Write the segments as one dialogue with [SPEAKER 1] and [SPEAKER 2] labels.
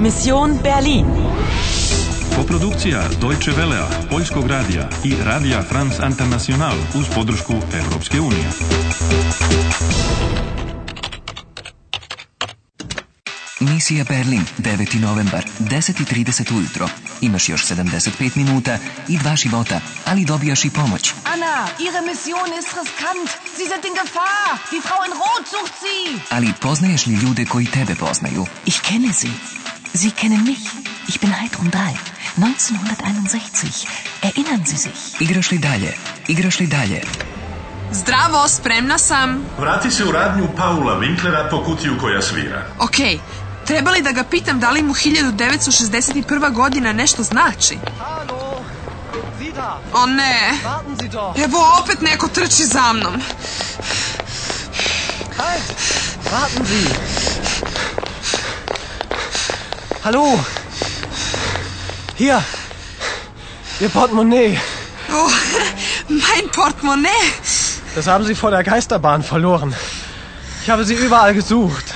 [SPEAKER 1] Mission Berlin.
[SPEAKER 2] Koprodukcija Deutsche Velea, Poljskog radija i Radija France International uz podršku Europske unije.
[SPEAKER 3] Misija Berlin, 9. novembar, 10.30 ujutro. Imaš još 75 minuta i dva života, ali dobijaš i pomoć.
[SPEAKER 4] Anna, Ihre Mission ist riskant. Sie sind in Gefahr. Die Frau in Rot sucht Sie.
[SPEAKER 3] Ali poznaješ li ljude koji tebe poznaju?
[SPEAKER 5] Ich kenne Sie. Sie kennen mich. Ich bin Heidrun 3, 1961. Erinnern Sie sich?
[SPEAKER 3] Igraš li dalje? Igraš li dalje?
[SPEAKER 6] Zdravo, spremna sam.
[SPEAKER 7] Vrati se u radnju Paula Winklera po kutiju koja svira.
[SPEAKER 6] Okej, treba li da ga pitam da li mu 1961. godina nešto znači?
[SPEAKER 8] Hallo, Sie da,
[SPEAKER 6] O ne,
[SPEAKER 8] warten Sie doch.
[SPEAKER 6] evo opet neko trči za mnom.
[SPEAKER 8] Halt, warten Sie. Hallo. Hier, Ihr Portemonnaie.
[SPEAKER 6] O, mein Portemonnaie.
[SPEAKER 8] Das haben Sie vor der Geisterbahn verloren. Ich habe Sie überall gesucht.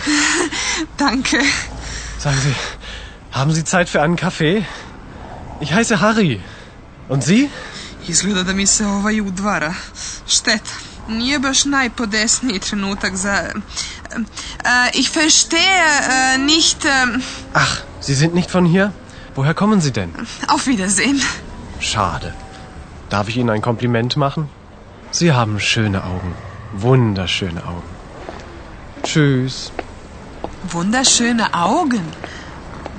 [SPEAKER 6] Danke.
[SPEAKER 8] Sagen Sie, haben Sie Zeit für einen Kaffee? Ich heiße Harry. Und Sie?
[SPEAKER 6] Izgleda da mi se ovaj udvara. Šteta. Nije baš najpodesniji trenutak za... Eh, ich verstehe eh, nicht... eh,
[SPEAKER 8] Ach, Sie sind nicht von hier? Woher kommen Sie denn?
[SPEAKER 6] auf Wiedersehen.
[SPEAKER 8] Schade. Darf ich Ihnen ein Kompliment machen? Sie haben schöne Augen. Wunderschöne Augen. Tschüss.
[SPEAKER 6] Wunderschöne Augen.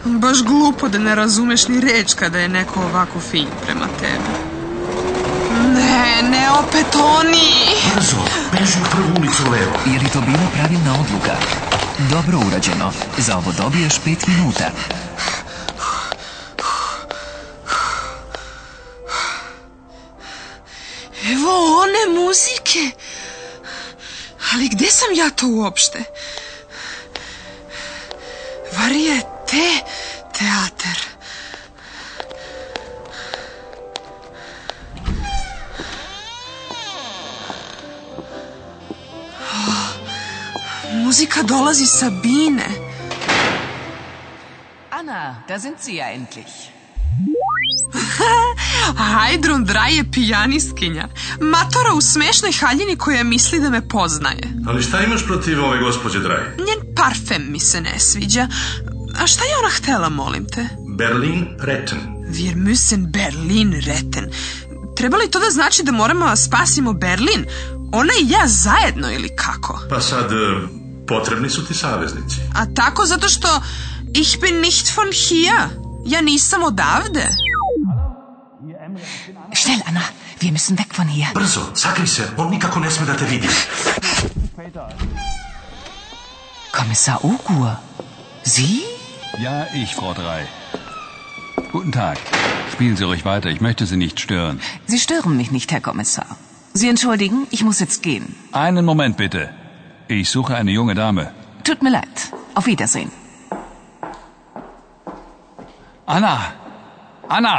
[SPEAKER 6] Baš glupo da ne razumeš ni reč kada je neko ovako fin prema tebi. Ne, ne opet oni.
[SPEAKER 7] Brzo, beži u prvu ulicu levo.
[SPEAKER 3] Je li to bila pravilna odluka? Dobro urađeno. Za ovo dobijaš 5 minuta.
[SPEAKER 6] Evo one muzike. Ali gdje sam ja to uopšte? Varijete teater. Oh, Muzika dolazi sa Bine.
[SPEAKER 5] Anna, da sind Sie ja endlich.
[SPEAKER 6] Hajdrun Draj je pijaniskinja. Matora u smešnoj haljini koja misli da me poznaje.
[SPEAKER 7] Ali šta imaš protiv ove gospođe Draj?
[SPEAKER 6] Njen parfem mi se ne sviđa. A šta je ona htela, molim te?
[SPEAKER 7] Berlin Retten.
[SPEAKER 6] Wir müssen Berlin retten. Treba li to da znači da moramo spasimo Berlin? Ona i ja zajedno ili kako?
[SPEAKER 7] Pa sad, e, potrebni su ti saveznici.
[SPEAKER 6] A tako zato što ich bin nicht von hier. Ja nisam odavde.
[SPEAKER 5] Schnell, Anna. Wir müssen weg von hier.
[SPEAKER 7] Brzo, sakri se, on nikako ne sme da te vidi.
[SPEAKER 5] Kommissar Ogur. Sie?
[SPEAKER 9] Ja, ich, Frau Drei. Guten Tag. Spielen Sie ruhig weiter, ich möchte Sie nicht stören.
[SPEAKER 5] Sie stören mich nicht, Herr Kommissar. Sie entschuldigen, ich muss jetzt gehen.
[SPEAKER 9] Einen Moment bitte. Ich suche eine junge Dame.
[SPEAKER 5] Tut mir leid. Auf Wiedersehen.
[SPEAKER 9] Anna! Anna!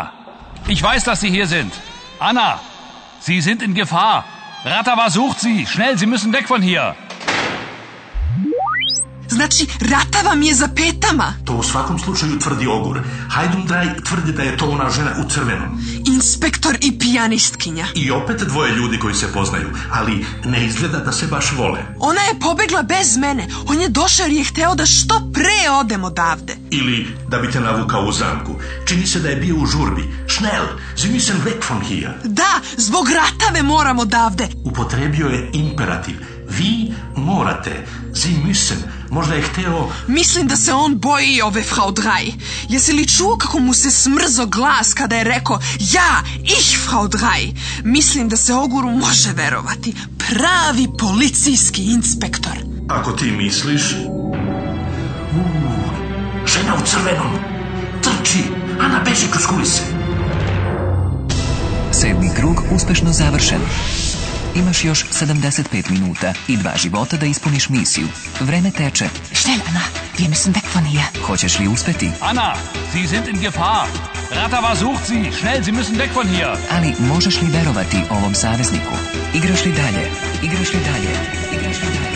[SPEAKER 9] Ich weiß, dass Sie hier sind. Anna! Sie sind in Gefahr. Ratava sucht Sie. Schnell, Sie müssen weg von hier.
[SPEAKER 6] Znači, ratava mi je za petama.
[SPEAKER 7] To u svakom slučaju tvrdi Ogur. Hajdun Draj tvrdi da je to ona žena u crvenom.
[SPEAKER 6] Inspektor i pijanistkinja.
[SPEAKER 7] I opet dvoje ljudi koji se poznaju, ali ne izgleda da se baš vole.
[SPEAKER 6] Ona je pobegla bez mene. On je došao jer je hteo da što pre odem odavde.
[SPEAKER 7] Ili da bi te navukao u zamku. Čini se da je bio u žurbi. Schnell, Sie müssen weg von hier.
[SPEAKER 6] Da, zbog ratave moram odavde.
[SPEAKER 7] Upotrebio je imperativ. Vi morate. Sie müssen. Možda je hteo...
[SPEAKER 6] Mislim da se on boji ove Frau Drei. Jesi li čuo kako mu se smrzo glas kada je rekao ja, ich Frau Drei? Mislim da se Oguru može verovati. Pravi policijski inspektor.
[SPEAKER 7] Ako ti misliš... Uuu, žena u crvenom. Trči. Ana, beži kroz kulise.
[SPEAKER 3] Sedmi krug uspešno završen. Imaš još 75 minuta i dva života da ispuniš misiju. Vreme teče.
[SPEAKER 5] Schnell, Anna. Wir müssen weg von hier.
[SPEAKER 3] Hoćeš li uspeti?
[SPEAKER 9] Anna! Sie sind in Gefahr. Ratava sucht Sie. Schnell, Sie müssen weg von hier.
[SPEAKER 3] Ali možeš li verovati ovom savezniku? Igraš li dalje? Igraš li dalje? Igraš li dalje?